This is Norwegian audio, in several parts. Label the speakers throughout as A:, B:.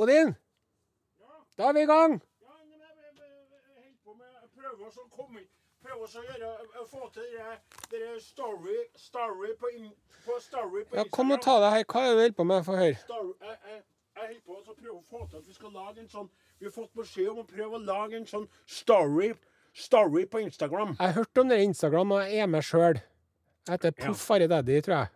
A: Odin? Da er vi i gang.
B: Ja, men jeg- jeg- jeg- jeg holder på med jeg prøver også å komme inn- prøver også å gjøre, å få til det her- det her story, story på, in, på story på
A: Ja, Kom og
B: Instagram.
A: ta deg her. Hva er det du holder på med? Få høre.
B: Story, jeg, jeg, jeg holder på å prøve å få til at vi skal lage en sånn Vi har fått beskjed om å prøve å lage en sånn story, story på Instagram.
A: Jeg hørte om det i Instagram, og jeg er med sjøl. Jeg heter Poff Are Daddy, tror jeg.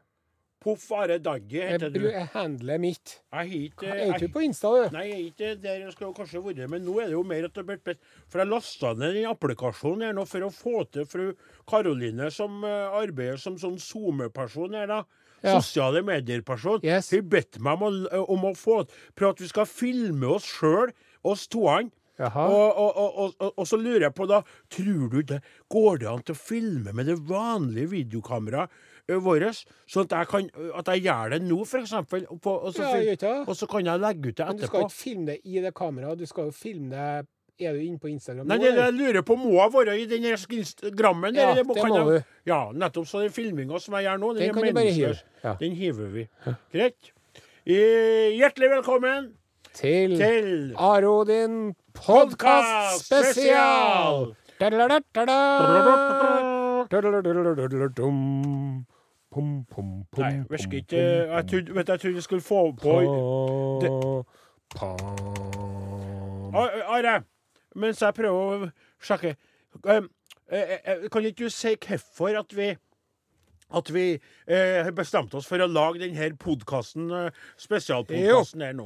B: Poff Are Dagge heter
A: Jeg, bru-
B: du. Jeg
A: jeg handler mitt.
B: har ikke
A: Jeg er
B: jeg-
A: ikke på Insta, du.
B: Nei, jeg er ikke der jeg skal kanskje være, men nå er det jo mer at det blir best. For jeg lasta ned den applikasjonen her nå for å få til fru Karoline, som eh, arbeider som sånn SoMe-person her, da.
A: Ja.
B: Sosiale medier-person.
A: Yes.
B: Hun bedt meg om å, eh, om å få For at vi skal filme oss sjøl, oss toene.
A: Jaha.
B: Og, og, og, og, og, og så lurer jeg på, da Tror du det går det an til å filme med det vanlige videokameraet eh, vårt? Sånn at jeg kan At jeg gjør det nå, f.eks.? Og, på- og, så
A: Ja,
B: fil-
A: gjør ikke det?
B: og så kan jeg legge ut det
A: Men du skal
B: etterpå?
A: ikke filme det i det kameraet. Du skal jo filme det Er du inne på Instagram?
B: Nei,
A: nå,
B: det, det
A: eller?
B: jeg lurer på, må jeg være i den her Instagrammen?
A: Ja,
B: eller
A: det
B: kan
A: må
B: jeg-
A: du.
B: Ja, nettopp. Så den filminga som jeg gjør nå, den,
A: Den
B: er
A: kan du bare hive.
B: meningsløs.
A: Ja.
B: Den hiver vi. Greit. Eh, hjertelig velkommen
A: Til,
B: til
A: Aro din podkast spesial!
B: Podcast-spesial! Nei, jeg virker ikke Jeg trodde vet, du, jeg trodde jeg skulle få på Ar- Are, mens jeg prøver å sjekke um, eh, eh, Kan ikke du si hvorfor at vi at vi eh, bestemte oss for å lage denne podkasten, spesialpodkasten eh, her nå.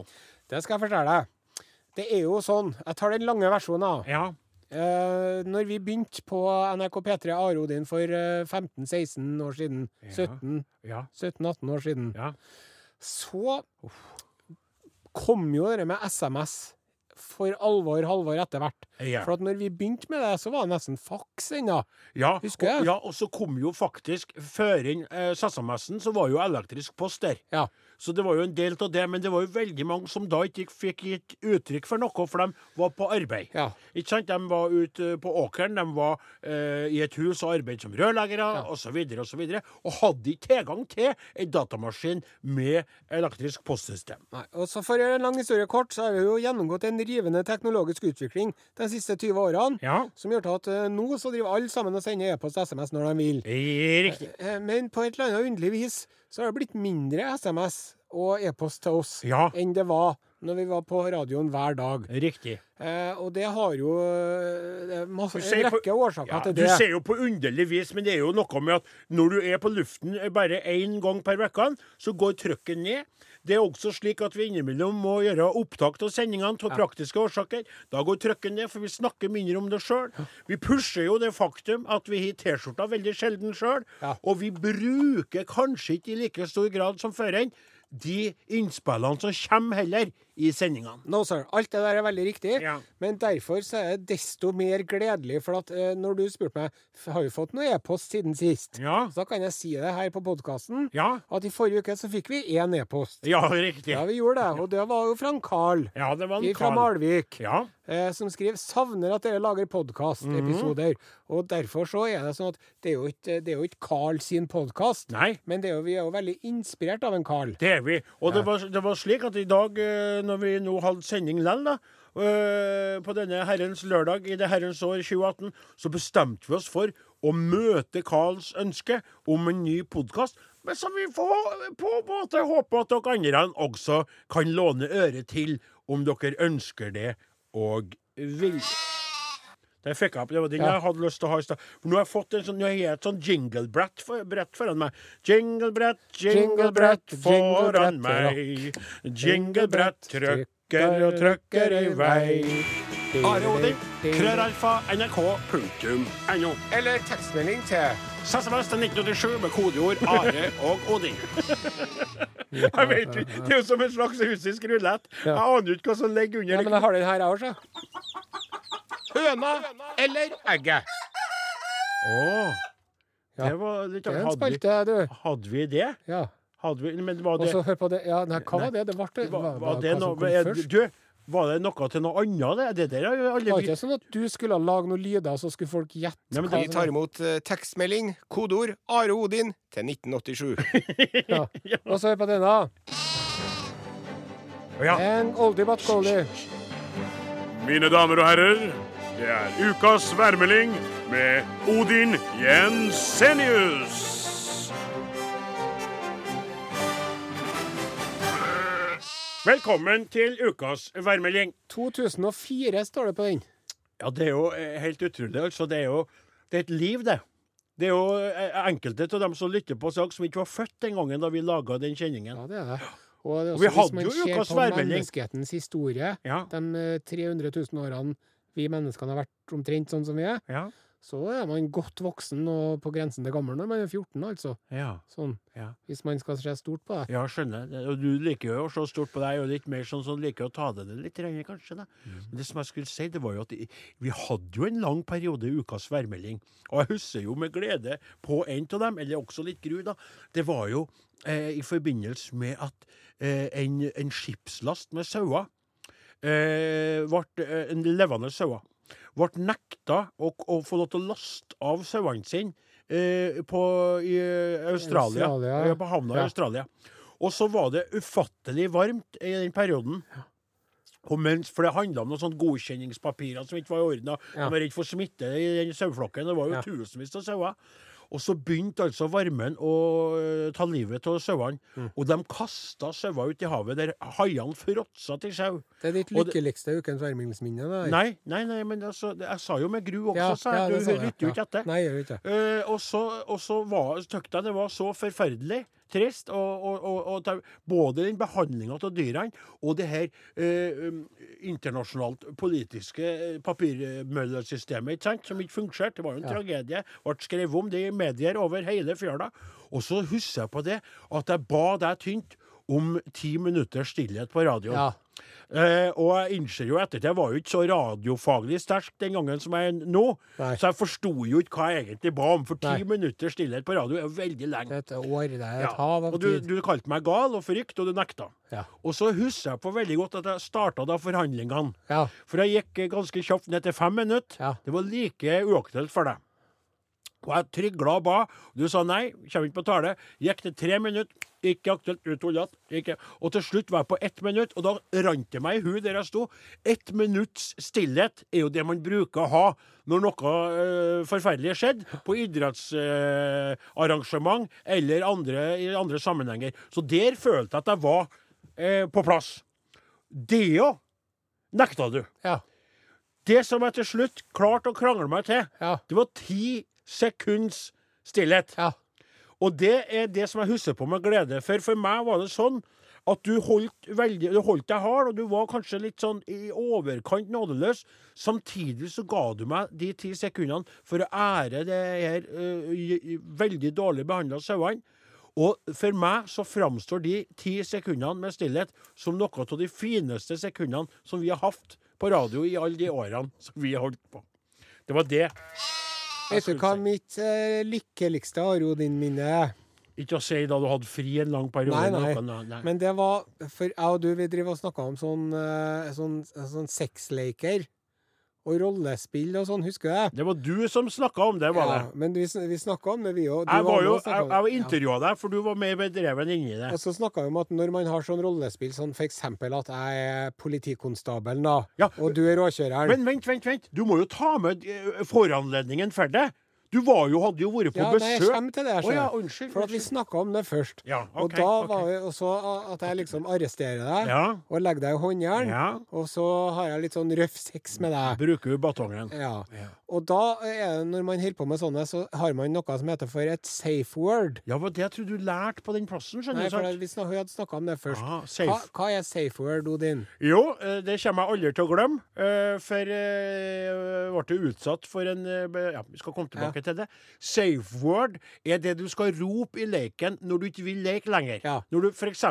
A: Det skal jeg fortelle deg. Det er jo sånn Jeg tar den lange versjonen, da.
B: Ja.
A: Eh, når vi begynte på NRK P3 Aro din for eh, 15-16 år siden,
B: Ja.
A: 17
B: Ja.
A: 17-18 år siden,
B: Ja.
A: så kom jo det med SMS for alvor halvår etter hvert.
B: Ja.
A: For at når vi begynte med det, så var det nesten faks ennå.
B: ja.
A: Husker
B: og,
A: jeg.
B: ja, og så kom jo faktisk Før inn eh, SMS-en, så var jo elektrisk post der.
A: Ja.
B: Så det var jo en del av det, men det var jo veldig mange som da ikke fikk gitt uttrykk for noe, for de var på arbeid.
A: Ja.
B: Ikke sant? De var ute på åkeren, de var eh, i et hus og arbeidet som rørleggere
A: Ja.
B: og osv. Og, så videre, og hadde ikke tilgang til en datamaskin med elektrisk postsystem.
A: Nei, og så For å gjøre en lang historie kort, så har vi jo gjennomgått en rivende teknologisk utvikling de siste 20 årene,
B: Ja,
A: som gjør til at eh, nå så driver alle sammen og sender e-post og SMS når de vil.
B: riktig.
A: Eh, Men på et eller annet underlig vis så har det blitt mindre SMS og e-post til oss
B: Ja.
A: enn det var når vi var på radioen hver dag.
B: Riktig.
A: Eh, og det har jo eh, det er masse,
B: Du
A: en
B: ser på-
A: rekke årsaker
B: Ja,
A: til
B: du
A: det.
B: ser jo på underlig vis, men det er jo noe med at når du er på luften bare én gang per uke, så går trykket ned. Det er også slik at vi innimellom må gjøre opptak av sendingene av praktiske årsaker. Da går trykket ned, for vi snakker mindre om det sjøl. Vi pusher jo det faktum at vi har T-skjorta veldig sjelden sjøl,
A: Ja.
B: og vi bruker kanskje ikke i like stor grad som før enn de innspillene som kommer heller i sendingene.
A: No, sir. Alt det der er veldig riktig,
B: Ja.
A: men derfor så er det desto mer gledelig. For at eh, når du spurte meg "F- har vi fått noe e-post siden sist,
B: Ja.
A: så da kan jeg si det her på podkasten
B: Ja.
A: at i forrige uke så fikk vi én e-post.
B: Ja, riktig.
A: Ja, vi gjorde det. Og det var jo fra en Carl
B: Ja, det var en
A: fra
B: kar.
A: Malvik.
B: Ja.
A: eh, som skriver 'savner at dere lager podkastepisoder'.
B: Mhm.
A: Og derfor så er det sånn at det er jo ikke, det er jo ikke Carl sin podkast,
B: Nei.
A: men det er jo, vi er jo veldig inspirert av en Carl.
B: Det er vi. Og det, var, det var slik at i dag, eh, når vi nå hadde sending lell, da, eh, på denne herrens lørdag i det herrens år 2018, så bestemte vi oss for å møte Karls ønske om en ny podkast. Men som vi får på en måte håpe at dere andre også kan låne øret til, om dere ønsker det og vil. Der fikk jeg opp. Det var den
A: Ja.
B: jeg hadde lyst til å ha i stad. For Nå har jeg fått en sånn, nå har jeg et sånn jinglebrett for, brett foran meg. Jinglebrett, jinglebrett foran meg. Jinglebrett, trøkker og trøkker i vei. Are Odin, krøralfa, nrk.no.
A: Eller tekstmelding til
B: SMS til 1987 med kodeord Are og Odin. Jeg vet ikke, Det er jo som en slags russisk rulett. Jeg aner ikke hva som ligger
A: Ja,
B: under.
A: men jeg har den her, jeg òg, så. Høna eller egget?
B: Åh,
A: Ja.
B: Det var litt
A: Det er en
B: hadde vi-
A: spalte, du.
B: Hadde vi det?
A: Ja.
B: Hadde vi, men var
A: Og
B: det,
A: så hør på det. Ja, nei, hva var det? Det ble det.
B: var,
A: hva-
B: var
A: hva-
B: det
A: hva som
B: noe
A: kom
B: er-
A: først?
B: Du, var det noe til noe annet? Det, det der har jo
A: Det var
B: aldri
A: ikke sånn at du skulle lage noen lyder, så skulle folk gjette
B: Nei,
A: hva
B: men det-
A: som-
C: Vi tar imot eh, tekstmelding, kodeord Are Odin til 1987.
A: Ja. Og så hør på denne.
B: Ja.
A: En oldie but goldie. Eh.
B: Mine damer og herrer, det er ukas værmelding med Odin Jensenius. Velkommen til ukas værmelding.
A: 2004 står det på den.
B: Ja, det er jo eh, helt utrolig. Altså, det er jo det er et liv, det. Det er jo eh, enkelte av dem som lytter på oss i dag, som ikke var født den gangen da vi laga den kjenningen.
A: Ja, det er det. Og, det er
B: Og vi
A: også,
B: hadde
A: hvis man
B: jo
A: ser
B: ukas
A: på
B: værmelding.
A: menneskehetens historie,
B: Ja.
A: de eh, 300 000 årene vi menneskene har vært omtrent sånn som vi er,
B: Ja.
A: så er man godt voksen og på grensen til gammel når man er 14, altså.
B: ja.
A: Sånn.
B: Ja.
A: Hvis man skal se stort på det.
B: Ja, skjønner. Det- Og du liker jo å se stort på deg, og litt mer sånn som liker å ta det ned litt, grann, kanskje. Da. Men det som jeg skulle si, det var jo at i- vi hadde jo en lang periode i ukas værmelding, og jeg husker jo med glede på en av dem, eller også litt gru, da. Det var jo eh, i forbindelse med at eh, en, en skipslast med sauer eh, vart, eh, en levende sauer ble nekta å, å få lov til å laste av sauene sine eh, på, i eh, Australia.
A: Australia,
B: ja, på havna i
A: ja.
B: Australia. Og så var det ufattelig varmt i den perioden. Og mens, for det handla om noen sånne godkjenningspapirer som ikke var i orden. De
A: Ja.
B: var redd for smitte i den saueflokken. Det var jo
A: Ja.
B: tusenvis av sauer. Og så begynte altså varmen å øh, ta livet av sauene.
A: Mm.
B: Og de kasta sauer ut i havet, der haiene fråtsa til sau.
A: Det er ditt
B: Og det-
A: lykkeligste ukens værmeldingsminne. det der.
B: Nei, nei, nei, men altså, det- jeg sa jo med gru også,
A: Ja,
B: sa
A: ja,
B: jeg.
A: det
B: du
A: sa jeg,
B: lytter jo
A: ja.
B: ikke etter.
A: Nei, jeg gjør ikke det.
B: Eh, og så, og så var, tøkte jeg det var så forferdelig trist, og, og, og, og det- både den behandlinga av dyrene og det her eh, um, internasjonalt politiske eh, papirmøllesystemet, ikke sant, som ikke fungerte. Det var jo en tragedie. Ble skrevet om det i medier over hele fjøla. Og så husker jeg på det at jeg ba deg tynt om ti minutters stillhet på radioen.
A: Ja.
B: Eh, og jeg innser jo etter det, jeg var jo ikke så radiofaglig sterk den gangen som jeg er nå.
A: Nei.
B: Så jeg forsto jo ikke hva jeg egentlig ba om, for ti
A: Nei.
B: minutter stillhet på radio er jo veldig
A: Det
B: lenge.
A: er et år, det er et
B: Ja.
A: hav av
B: Og du,
A: tid.
B: du kalte meg gal og frykt, og du nekta.
A: Ja.
B: Og så husker jeg på veldig godt at jeg starta da forhandlingene.
A: Ja.
B: For jeg gikk eh, ganske kjapt ned til fem minutter.
A: Ja.
B: Det var like uaktuelt for deg. Og jeg trygla og ba. Du sa nei, kommer ikke på tale. Gikk til tre minutter. Ikke aktuelt. Utholdt. Ikke. Og til slutt var jeg på ett minutt, og da rant det meg i huet der jeg sto. Ett minutts stillhet er jo det man bruker å ha når noe eh, forferdelig er skjedd. På idrettsarrangement eh, eller andre, i andre sammenhenger. Så der følte jeg at jeg var eh, på plass. Det jo nekta du.
A: Ja.
B: Det som jeg til slutt klarte å krangle meg til,
A: Ja.
B: det var ti sekunds stillhet.
A: Ja.
B: Og det er det som jeg husker på med glede. For for meg var det sånn at du holdt, veldig, du holdt deg hard, og du var kanskje litt sånn i overkant nådeløs. Samtidig så ga du meg de ti sekundene for å ære det her øh, i- i- veldig dårlig behandla sauene. Og for meg så framstår de ti sekundene med stillhet som noe av de fineste sekundene som vi har hatt på radio i alle de årene som vi har holdt på. Det var det.
A: Vet du hva mitt eh, lykkeligste Arodin-minne er?
B: Ikke å si da du hadde fri en lang periode.
A: Nei, nei.
B: noe, nei, nei.
A: Men det var For jeg og du, vi driver og snakker om sånn, eh, sånn, sånn sexleker og rollespill og sånn, husker du det?
B: Det var du som snakka om det, var det?
A: Ja, men vi, sn- vi snakka om det, vi òg.
B: Jeg var jo, jeg, jeg intervjua deg, for du var mer bedreven inni det.
A: Og så snakka vi om at når man har sånn rollespill, sånn for eksempel at jeg er politikonstabelen, da,
B: Ja.
A: og du er råkjøreren
B: Men vent, vent, vent! Du må jo ta med eh, foranledningen for deg. Du var jo, hadde jo vært på
A: Ja, nei, jeg
B: besøk.
A: kommer til det. jeg
B: Å ja,
A: skjønner.
B: unnskyld,
A: For at vi
B: unnskyld.
A: snakka om det først.
B: Ja,
A: og
B: ok,
A: da var
B: ok.
A: vi Og så at jeg liksom arresterer deg
B: Ja.
A: og legger deg i håndjern,
B: Ja.
A: og så har jeg litt sånn røff sex med deg.
B: Bruker jo batongen.
A: Ja. Og da er det, når man holder på med sånne, så har man noe som heter for et safe word.
B: Ja, var det jeg trodde du lærte på den plassen, skjønner
A: Nei,
B: du.
A: for
B: sant?
A: vi snak, vi hadde snakka om det først.
B: Ah, safe.
A: hva, hva er safe word, Odin?
B: Jo, eh, det kommer jeg aldri til å glemme. eh, For jeg ble utsatt for en eh, be- Ja, vi skal komme tilbake til det. Safe word er det du skal rope i leken når du ikke vil leke lenger.
A: Ja.
B: Når du f.eks.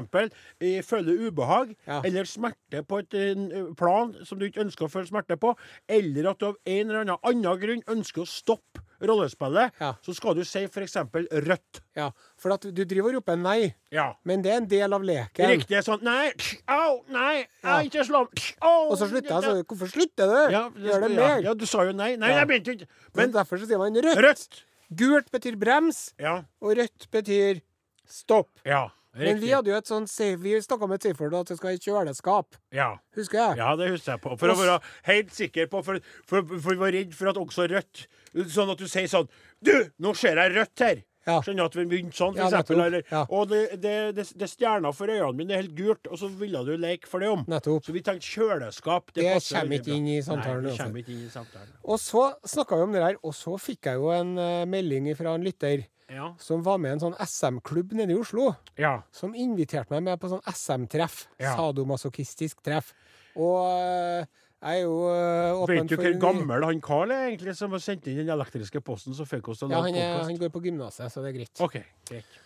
B: føler ubehag
A: Ja.
B: eller smerte på et eh, plan som du ikke ønsker å føle smerte på, eller at du av en eller annen, annen grunn ønsker å stoppe rollespillet,
A: Ja.
B: så skal du si f.eks. rødt.
A: Ja, For at du driver og roper nei,
B: Ja.
A: men det er en del av leken.
B: Riktig er sånn Nei, au, nei,
A: Ja.
B: au, ikke slå Au!
A: Og så slutter jeg, så Hvorfor slutter du?
B: Ja, det,
A: Gjør det
B: ja,
A: mer.
B: ja, du sa jo nei. Nei,
A: Ja.
B: jeg begynte ikke.
A: Men
B: Men
A: derfor så sier man rødt.
B: rødt.
A: Gult betyr brems,
B: Ja.
A: og rødt betyr stopp.
B: ja.
A: Men vi
B: Riktig.
A: hadde jo et sånt safe- Vi snakka med Seifert at det skal i kjøleskap,
B: Ja.
A: husker jeg.
B: Ja, det husker jeg på. For å være helt sikker på For, for, for vi var redd for at også Rødt Sånn at du sier sånn Du, nå ser jeg rødt her!
A: Ja.
B: Skjønner at vi begynte sånn, for
A: Ja,
B: eksempel.
A: nettopp.
B: Eller,
A: Ja.
B: Og det, det, det, det er stjerna for øynene mine det er helt gult, og så ville du leke for det om.
A: Nettopp.
B: Så vi tenkte kjøleskap. Det,
A: Det
B: passer
A: kommer
B: veldig
A: ikke
B: bra.
A: inn i samtalen altså.
B: Nei, det
A: uansett.
B: kommer ikke inn i samtalen.
A: Og så snakka vi om det der, og så fikk jeg jo en eh, melding fra en lytter
B: Ja.
A: som var med i en sånn SM-klubb nede i Oslo.
B: ja.
A: Som inviterte meg med på sånn SM-treff.
B: Ja.
A: Sadomasochistisk treff. Og eh, jeg er jo eh, åpen
B: Vet du
A: for
B: hvor gammel han Carl er, egentlig, som har sendt inn den elektriske posten som fikk oss til å
A: Ja, han,
B: lage
A: er,
B: podcast?
A: han går på gymnaset, så det er greit.
B: OK. Greit.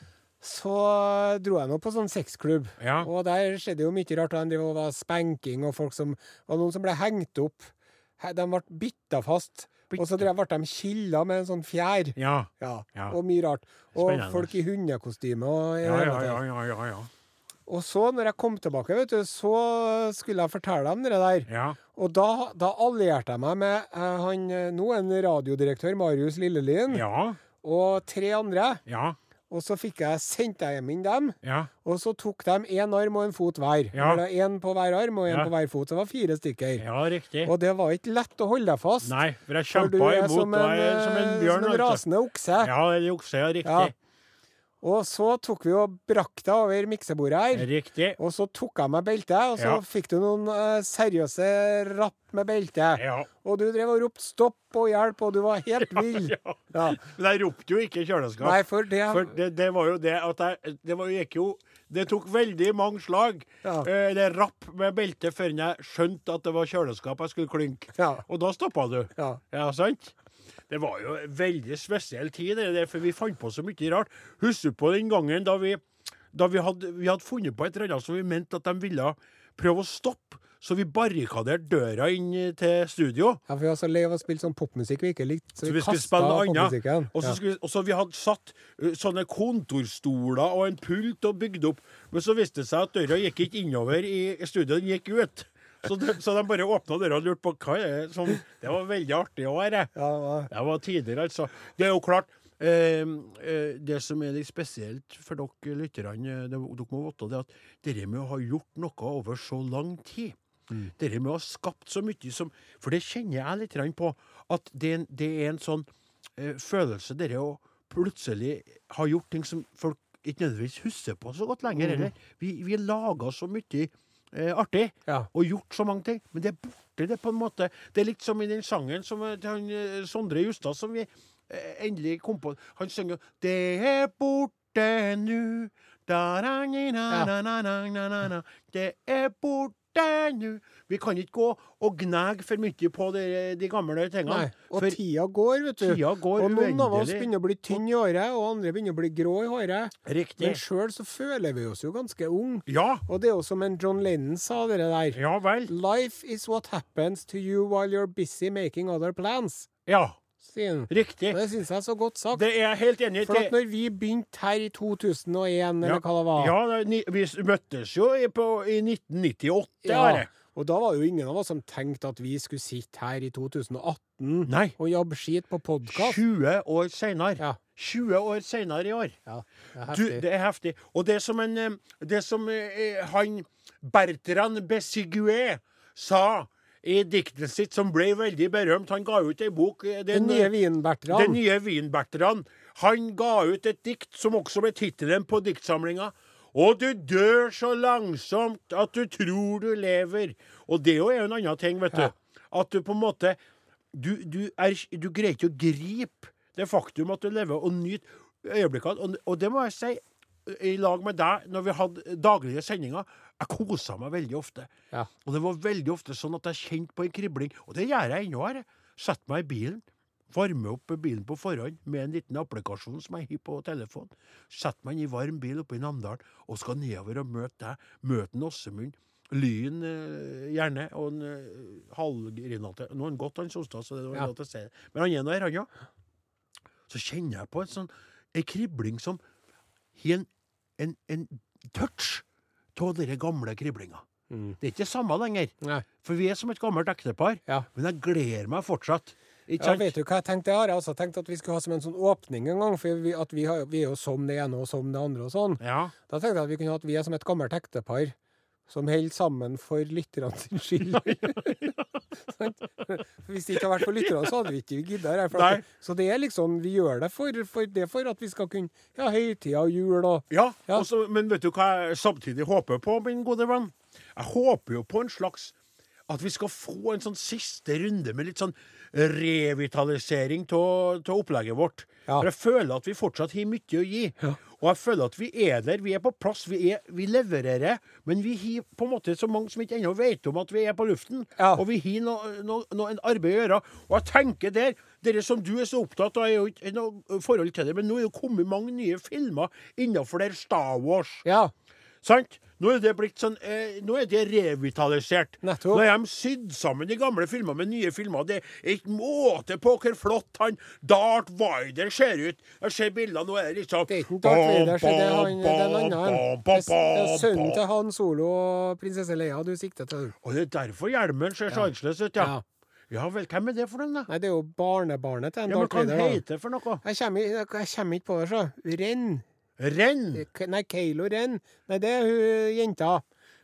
A: Så dro jeg nå på sånn sexklubb,
B: Ja.
A: og der skjedde jo mye rart. da. Det var spanking, og folk som, det var noen som ble hengt opp. He- De ble bytta fast, og så drev- ble de killa med en sånn fjær.
B: Ja.
A: Ja,
B: Ja.
A: Og mye rart. Og
B: Spennende.
A: folk i hundekostyme. Og, i det
B: Ja, ja,
A: hele
B: ja,
A: tatt.
B: ja, ja, ja.
A: og så, når jeg kom tilbake, vet du, så skulle jeg fortelle dem det der.
B: ja.
A: Og da, da allierte jeg meg med eh, han eh, nå, en radiodirektør, Marius Lillelien,
B: Ja.
A: og tre andre.
B: Ja.
A: Og så fikk jeg, sendte jeg hjem inn dem.
B: Ja.
A: Og så tok de én arm og en fot hver.
B: Ja.
A: Eller én på hver arm og én
B: Ja.
A: på hver fot. Det var fire stykker.
B: Ja, riktig.
A: Og det var ikke lett å holde deg fast.
B: Nei, for jeg
A: for du
B: kjempa
A: er
B: imot.
A: som en,
B: jeg er som en
A: eh,
B: bjørn.
A: som en
B: altså.
A: rasende okse.
B: Ja, det jukser jeg riktig.
A: Og så tok vi og brakk deg over miksebordet her.
B: Riktig.
A: Og så tok jeg meg beltet, og så
B: Ja.
A: fikk du noen eh, seriøse rapp med beltet.
B: Ja.
A: Og du drev og ropte 'stopp' og 'hjelp', og du var helt vill.
B: ja.
A: Ja.
B: Men jeg ropte jo ikke kjøleskap.
A: Nei, for det
B: For det, det var jo det at jeg Det var, gikk jo Det tok veldig mange slag,
A: Ja.
B: eh, eller rapp med beltet, før jeg skjønte at det var kjøleskap jeg skulle klynke.
A: Ja.
B: Og da stoppa du.
A: Ja.
B: sant? Det var jo en veldig spesiell tid, det der, for vi fant på så mye rart. Husker du på den gangen da vi, da vi, hadde, vi hadde funnet på et eller annet som vi mente at de ville prøve å stoppe? Så vi barrikaderte døra inn til studio.
A: Ja, for vi var så lei av å spille sånn popmusikk vi ikke likte, så, vi,
B: Så vi skulle
A: kastet
B: spille noe annet.
A: popmusikken.
B: Og så
A: Ja.
B: skulle- og så vi hadde satt ø, sånne kontorstoler og en pult og bygd opp. Men så viste det seg at døra gikk ikke innover i studio, den gikk ut. Så de, så de bare åpna døra og lurte på hva er det som Det var veldig artig å være.
A: Ja, det var-
B: Det var tidligere, altså. Det er jo klart. eh, eh, det som er litt spesielt for dere lytterne, eh, det- dere må vite, det er at dere med å ha gjort noe over så lang tid Dere med å ha skapt så mye som For det kjenner jeg litt grann på. At det, er en- det er en sånn eh, følelse dere å plutselig har gjort ting som folk ikke nødvendigvis husker på så godt lenger heller. Vi, vi laga så mye eh, artig
A: Ja.
B: og gjort så mange ting, men det er borte, det, på en måte. Det er litt som i den sangen som eh, til han, eh, Sondre Justad som vi eh, endelig kom på. Han synger jo Det er borte nu. Da-ra-ni-na-na-na-na-na-na. Det er borte nu. Vi kan ikke gå og gnage for mye på de, de gamle tingene.
A: Nei. Og
B: for
A: tida går, vet du.
B: Tida går
A: og noen av oss
B: uendelig.
A: begynner å bli tynne i håret, og andre begynner å bli grå i håret.
B: riktig.
A: Men sjøl så føler vi oss jo ganske unge.
B: Ja.
A: Og det er jo som en John Lennon sa, det der.
B: Ja vel.
A: Life is what happens to you while you're busy making other plans,
B: Ja.
A: sier han.
B: Riktig.
A: Og Det syns jeg er så godt sagt.
B: Det er jeg helt enig i.
A: For
B: Det-
A: at når vi begynte her i 2001, eller hva det var
B: Ja, det er ni- vi s- møttes jo i, på, i 1998,
A: Ja,
B: Are.
A: Og da var det jo ingen av oss som tenkte at vi skulle sitte her i 2018
B: Nei.
A: og jabbe skit på podkast.
B: 20 år seinere.
A: Ja.
B: 20 år seinere i år.
A: Ja, det er
B: Du,
A: heftig.
B: det er heftig. Og det som, en, eh, det som eh, han Bertrand Bessiguet sa i diktet sitt, som ble veldig berømt Han ga ut ei bok eh,
A: Den nye Wien-Bertrand.
B: Den nye Wien-Bertrand. Han ga ut et dikt som også ble tittelen på diktsamlinga. Og du dør så langsomt at du tror du lever. Og det jo er jo en annen ting, vet du. At du på en måte Du, du, er, du greier ikke å gripe det faktum at du lever, og nyte øyeblikkene. Og, og det må jeg si, i lag med deg, når vi hadde daglige sendinger, jeg kosa meg veldig ofte.
A: Ja.
B: Og det var veldig ofte sånn at jeg kjente på en kribling. Og det gjør jeg ennå her. Setter meg i bilen, varmer opp bilen på forhånd med en liten applikasjon som jeg har på telefonen. Setter meg inn i varm bil oppe i Namdalen og skal nedover og møte deg. Møte en Åssemund. Lyn, eh, gjerne, og en eh, halvgrinete Nå er han godt, han Solstad, så det var
A: Ja.
B: lov til å si det. Men han er nå her, han òg. Så kjenner jeg på en sånn en kribling som har en, en, en touch av den gamle kriblinga.
A: Mm.
B: Det er ikke det samme lenger.
A: Nei.
B: For vi er som et gammelt ektepar.
A: Ja.
B: Men jeg gleder meg fortsatt Ikke
A: Ja,
B: sant?
A: vet du hva jeg tenkte her? Jeg har også tenkt at vi skulle ha som en sånn åpning en gang, for vi, at vi, har, vi er jo som det ene og som det andre og sånn.
B: Ja.
A: Da tenkte jeg at vi kunne ha at vi er som et gammelt ektepar som holder sammen for lytterne sin skyld. Sant? Hvis det ikke hadde vært for lytterne, så hadde vi ikke giddet her. for at-
B: Nei.
A: Så det er liksom, vi gjør det for, for det for at vi skal kunne Ja, høytider og jul og
B: Ja,
A: Ja.
B: og så- men vet du hva jeg samtidig håper på, min gode venn? Jeg håper jo på en slags at vi skal få en sånn siste runde med litt sånn revitalisering av opplegget vårt.
A: Ja.
B: For jeg føler at vi fortsatt har mye å gi. Og jeg føler at vi er der, vi er på plass, vi, er, vi levererer. Men vi har på en måte så mange som ikke ennå vet om at vi er på luften.
A: Ja.
B: Og vi har noe no, no, en arbeid å gjøre. Og jeg tenker der Dere som du er så opptatt av, er jo ikke noe forhold til det, men nå er det jo kommet mange nye filmer innenfor der Star Wars.
A: Ja.
B: Sant? Nå er det blitt sånn eh, Nå er det revitalisert.
A: Nettopp.
B: Nå er de sydd sammen de gamle filmer med nye filmer. Det er ikke måte på hvor flott han Darth Vader ser ut. Jeg ser bilder, nå er det liksom
A: Det er ikke en Darth Vader, så det er han det er en annen. Det er sønnen til Han Solo og prinsesse Leia du sikter til.
B: Og det er derfor hjelmen ser så annerledes ut, ja. Ja vel, hvem er det for den, da?
A: Nei, det er jo barnebarnet til en
B: Ja, men
A: Darth
B: Hva
A: Vader.
B: han
A: da.
B: heter for noe?
A: Jeg kommer, jeg kommer ikke på det, så. Renn.
B: Renn?
A: K- Nei, Keilo Ren. Nei, det er hun jenta.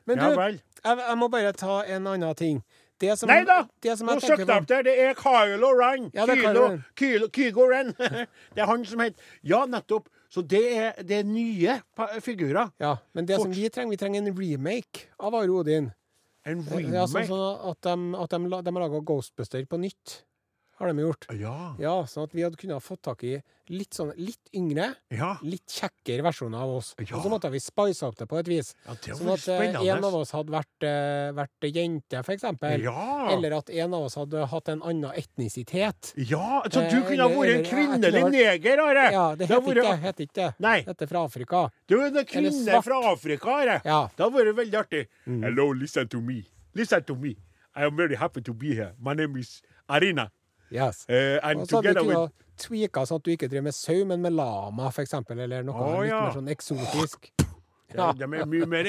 A: Men
B: Ja
A: du,
B: vel.
A: jeg, jeg må bare ta en annen ting. Det som,
B: Nei da!
A: Det som
B: Nå
A: jeg
B: søkte
A: tenker
B: jeg opp
A: på
B: der. Det er Kylo Ren.
A: Ja, det er
B: Kylo,
A: Kylo Ren.
B: Kylo, Kygo Ren. det er han som heter Ja, nettopp. Så det er, det er nye pa- figurer.
A: ja, men det som
B: Fort.
A: vi trenger, vi trenger en remake av Are Odin.
B: En
A: Ja, sånn,
B: remake.
A: sånn at de, at de, la- de har laga Ghostbuster på nytt. Har de gjort.
B: Ja.
A: Ja, sånn at vi hadde kunnet fått tak i litt sånn litt yngre,
B: Ja.
A: litt kjekkere versjoner av oss.
B: Ja.
A: Og så måtte vi spice opp det på et vis.
B: ja det
A: Sånn
B: var
A: at eh, en av
B: spennende.
A: oss hadde vært, eh, vært jente, for eksempel.
B: Ja.
A: Eller at en av oss hadde hatt en annen etnisitet.
B: ja. Så du
A: Eh,
B: kunne ha vært en
A: eller-
B: kvinnelig
A: eller-
B: neger, Are.
A: Ja, det
B: Det har
A: heter ikke
B: vært-
A: det. Heter ikke. det.
B: Nei.
A: Dette er fra Afrika.
B: Du er en kvinne
A: svart.
B: fra Afrika, Are.
A: Ja.
B: Det hadde vært veldig artig.
A: Mm.
B: Hello, listen to me. Listen to me. I am very happy to be here. My name is Arina.
A: Yes.
B: Eh,
A: Og
B: and
A: så hadde
B: together
A: du
B: with
A: kunnet tweaka sånn at du ikke driver med sau, men med lama, for eksempel, eller noe
B: Å,
A: litt
B: ja.
A: mer sånn eksotisk.
B: Ja. De er mye mer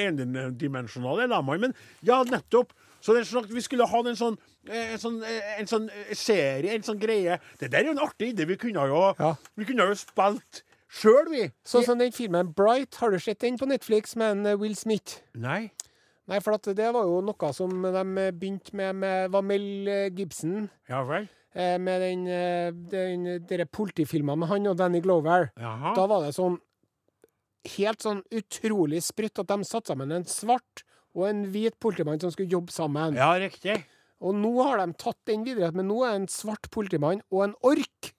B: endimensjonale, lamaene. Men ja, nettopp. Så det er sånn at vi skulle ha en sånn, eh, en sånn, eh, en sånn eh, serie, en sånn greie. Det der er jo en artig idé. Vi kunne jo,
A: Ja.
B: vi kunne jo spilt sjøl, vi.
A: Sånn som den filmen Bright, har du sett den på Netflix med en eh, Will Smith?
B: Nei.
A: Nei, for at det var jo noe som de eh, begynte med med var Mel eh, Gibson,
B: Ja vel.
A: eh, med den, eh, den dere politifilmen med han og Danny Glover.
B: Jaha.
A: Da var det sånn helt sånn utrolig sprøtt at de satte sammen en svart og en hvit politimann som skulle jobbe sammen.
B: Ja, riktig.
A: Og nå har de tatt den videre, men nå er en svart politimann og en ork.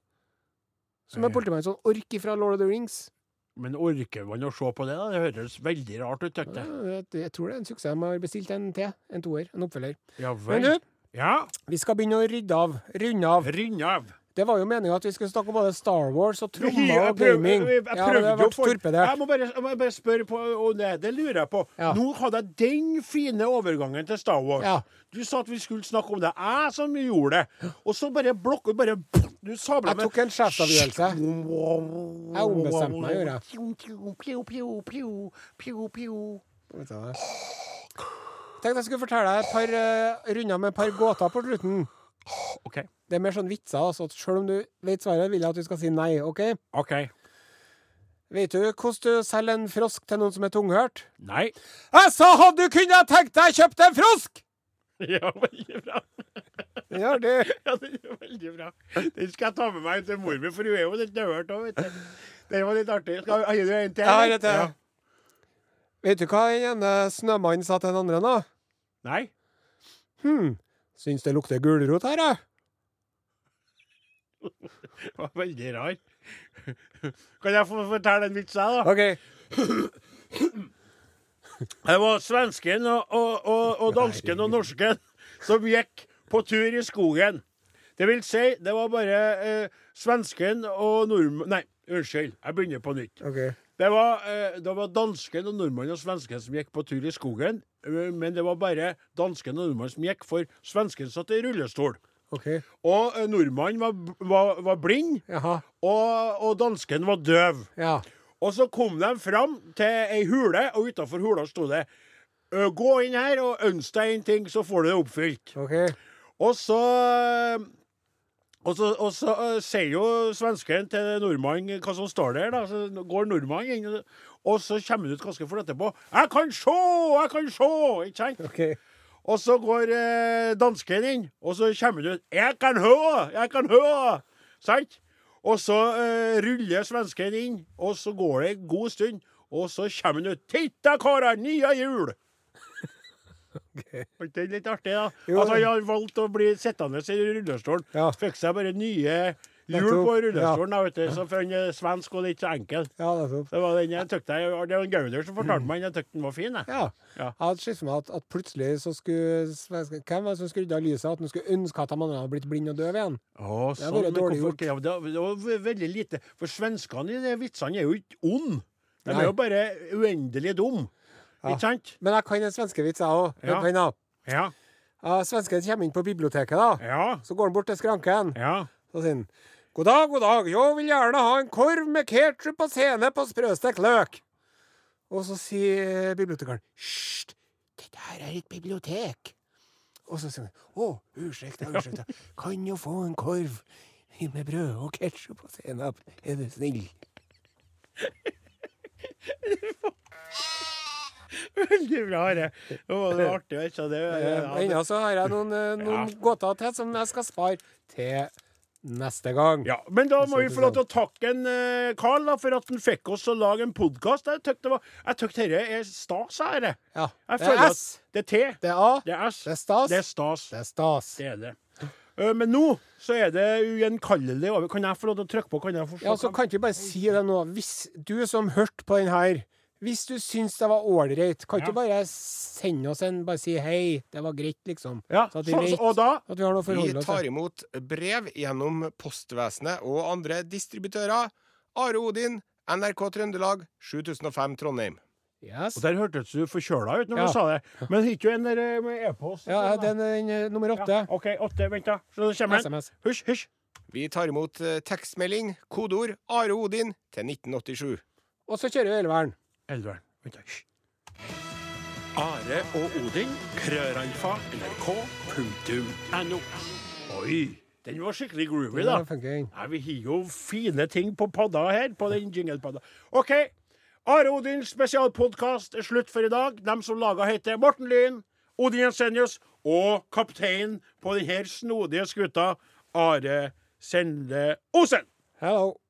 A: Som
B: Ja.
A: er politimann, sånn ork fra Lord of the Rings.
B: Men orker man å se på det? da? Det høres veldig rart ut.
A: Ja,
B: Dette.
A: det- jeg tror det er en suksess. De har bestilt en til. En toer. En oppfølger.
B: Ja
A: Men
B: vel.
A: du,
B: Ja,
A: vi skal begynne å rydde av. Runde av.
B: Rund av.
A: Det var jo meninga at vi skulle snakke om både Star Wars og
B: Jeg prøv-
A: trommer og
B: jeg
A: gaming.
B: prøv- jeg
A: Ja, men det
B: prøvde
A: har
B: jo
A: vært
B: for- Jeg
A: torpedert.
B: må bare, jeg må bare spørre på og det, det lurer jeg på.
A: Ja.
B: Nå hadde jeg den fine overgangen til Star Wars.
A: Ja.
B: Du sa at vi skulle snakke om det. Jeg som gjorde det. Og så bare blokka bare Du sabla
A: Jeg tok en sjefsavgjørelse. Jeg ombestemte meg, gjorde jeg. Vet du hva? Tenkte jeg skulle fortelle deg et par eh, runder med et par gåter på slutten.
B: OK.
A: Det er mer sånn vitser, altså. at Selv om du vet svaret, vil jeg at du skal si nei. ok?
B: OK.
A: Vet du hvordan du selger en frosk til noen som er tunghørt?
B: Nei.
A: Jeg sa hadde du kunnet tenkt deg kjøpt en frosk!
B: Ja, veldig bra.
A: Ja, det
B: Ja, den er veldig bra. Den skal jeg ta med meg til mor mi, for hun er jo litt døvhørt òg, vet du. Den var litt artig. Skal, har du en til?
A: Jeg har et
B: Ja.
A: til. Vet du hva den ene snømannen sa til den andre, da?
B: Nei?
A: Hm, syns det lukter gulrot her, jeg.
B: Det var veldig rar. Kan jeg få fortelle en vits, jeg, da?
A: OK.
B: Det var svensken og, og, og, og dansken og norsken som gikk på tur i skogen. Det vil si, det var bare eh, svensken og nordmann... Nei, unnskyld. Jeg begynner på nytt.
A: ok.
B: Det var, eh, det var dansken og nordmannen og svensken som gikk på tur i skogen. eh, Men det var bare dansken og nordmannen som gikk, for svensken satt i rullestol.
A: ok.
B: Og eh, nordmannen var, b- var, var blind,
A: Jaha.
B: og, og dansken var døv.
A: Ja.
B: Og så kom de fram til ei hule, og utafor hula sto det «Ø, Gå inn her og ønsk deg en ting, så får du det oppfylt.
A: OK.
B: Og så eh, Og så, og så eh, sier jo svensken til nordmannen hva som står der, da. Så går nordmannen inn, og- og så kommer det ut ganske fort etterpå. 'Jeg kan sjå! Jeg kan sjå!' Ikke sant?
A: Ok.
B: Og så går eh, dansken inn, og så kommer det ut 'Jeg kan høre! Jeg kan høre!' Sant? Og så eh, ruller svensken inn, og så går det en god stund, og så kommer han ut 'Titta, karer! Nye hjul!' Var ikke det litt artig, da?
A: Jo.
B: At han har valgt å bli sittende i rullestolen.
A: Ja.
B: Fikk seg bare nye hjul
A: Nettopp,
B: på rullestolen, da, vet du. Så for han er svensk og litt så enkel.
A: Ja, nettopp.
B: Det var den jeg tøkte, det var en gauder som fortalte meg den jeg tøkte den var fin. Jeg.
A: Ja.
B: Ja.
A: Jeg hadde sett for meg at, at plutselig så skulle svensken- Hvem var det som skrudde av lyset? At han skulle ønske at de andre hadde blitt blind og døv igjen?
B: Å,
A: Det var
B: sånn,
A: jo
B: men
A: dårlig
B: hvorfor-
A: gjort.
B: Ja, det, var- det var ve- veldig lite. For svenskene i de vitsene er jo ikke onde. De
A: Nei.
B: er jo bare uendelig dumme.
A: Ja.
B: Ikke sant?
A: Men jeg kan en svenskevits, jeg òg.
B: Ja.
A: Ja.
B: Ja.
A: svensken kommer inn på biblioteket, da.
B: Ja.
A: Så går han bort til skranken.
B: Ja.
A: Så sier han God dag, god dag. Jo, vil gjerne ha en korv med ketsjup og sennep og sprøstekt løk. Og så sier bibliotekaren Hysj, dette her er et bibliotek. Og så sier han Å, unnskyld, unnskyld. Kan jo få en korv med brød og ketsjup og sennep, er du snill?
B: Veldig bra, det. Det var det artig. vet du, Det,
A: Eh,
B: ja, det.
A: Ennå så har jeg noen, eh, noen gåter til som jeg skal spare til neste gang.
B: Ja, men da må vi få lov til å takke en eh, Karl da, for at han fikk oss å lage en podkast. Jeg tykte det var- jeg tykte dette er stas. her, jeg.
A: Ja,
B: Jeg
A: Det er
B: føler
A: S,
B: at det er T,
A: det er A,
B: det er S,
A: det er stas,
B: det er stas.
A: det er stas.
B: Det er det. Eh, Men nå så er det ugjenkallelig over. Kan jeg få lov til å trykke på? Kan jeg få
A: Ja, så kan ikke vi bare si det nå. Hvis du som hørte på den her, hvis du syns det var ålreit, kan ikke du bare sende oss en Bare si hei, det var greit, liksom.
B: Ja,
A: Så at vi
B: så,
A: vet
B: så, og da
A: at vi har noe å
C: Vi
A: forholde oss
C: tar
A: til.
C: imot brev gjennom postvesenet og andre distributører. Are Odin, NRK Trøndelag, 7005 Trondheim.
A: Yes.
B: Og der hørtes du forkjøla ut når
A: Ja.
B: du sa det. Men ikke jo en der eh, med e-post. og
A: Ja,
B: sånn, da.
A: den er den, eh, nummer åtte.
B: Ja, OK, åtte. Vent, da. Så det kommer en.
A: SMS.
B: Hysj, hysj.
C: Vi tar imot eh, tekstmelding, kodeord Are Odin til 1987.
A: Og så kjører vi elveren.
B: Eldvern. Vent, da. Hysj. Are og Odin, krøralfa, nrk, punktum, no. Oi. Den var skikkelig groovy, da.
A: Der funker den.
B: Nei, vi har jo fine ting på padda her, på den jinglepadda. OK. Are Odins spesialpodkast er slutt for i dag. Dem som laga, heter Morten Lyn, Odin Jensenius og kapteinen på denne snodige skuta, Are Sende Osen.
A: Hello.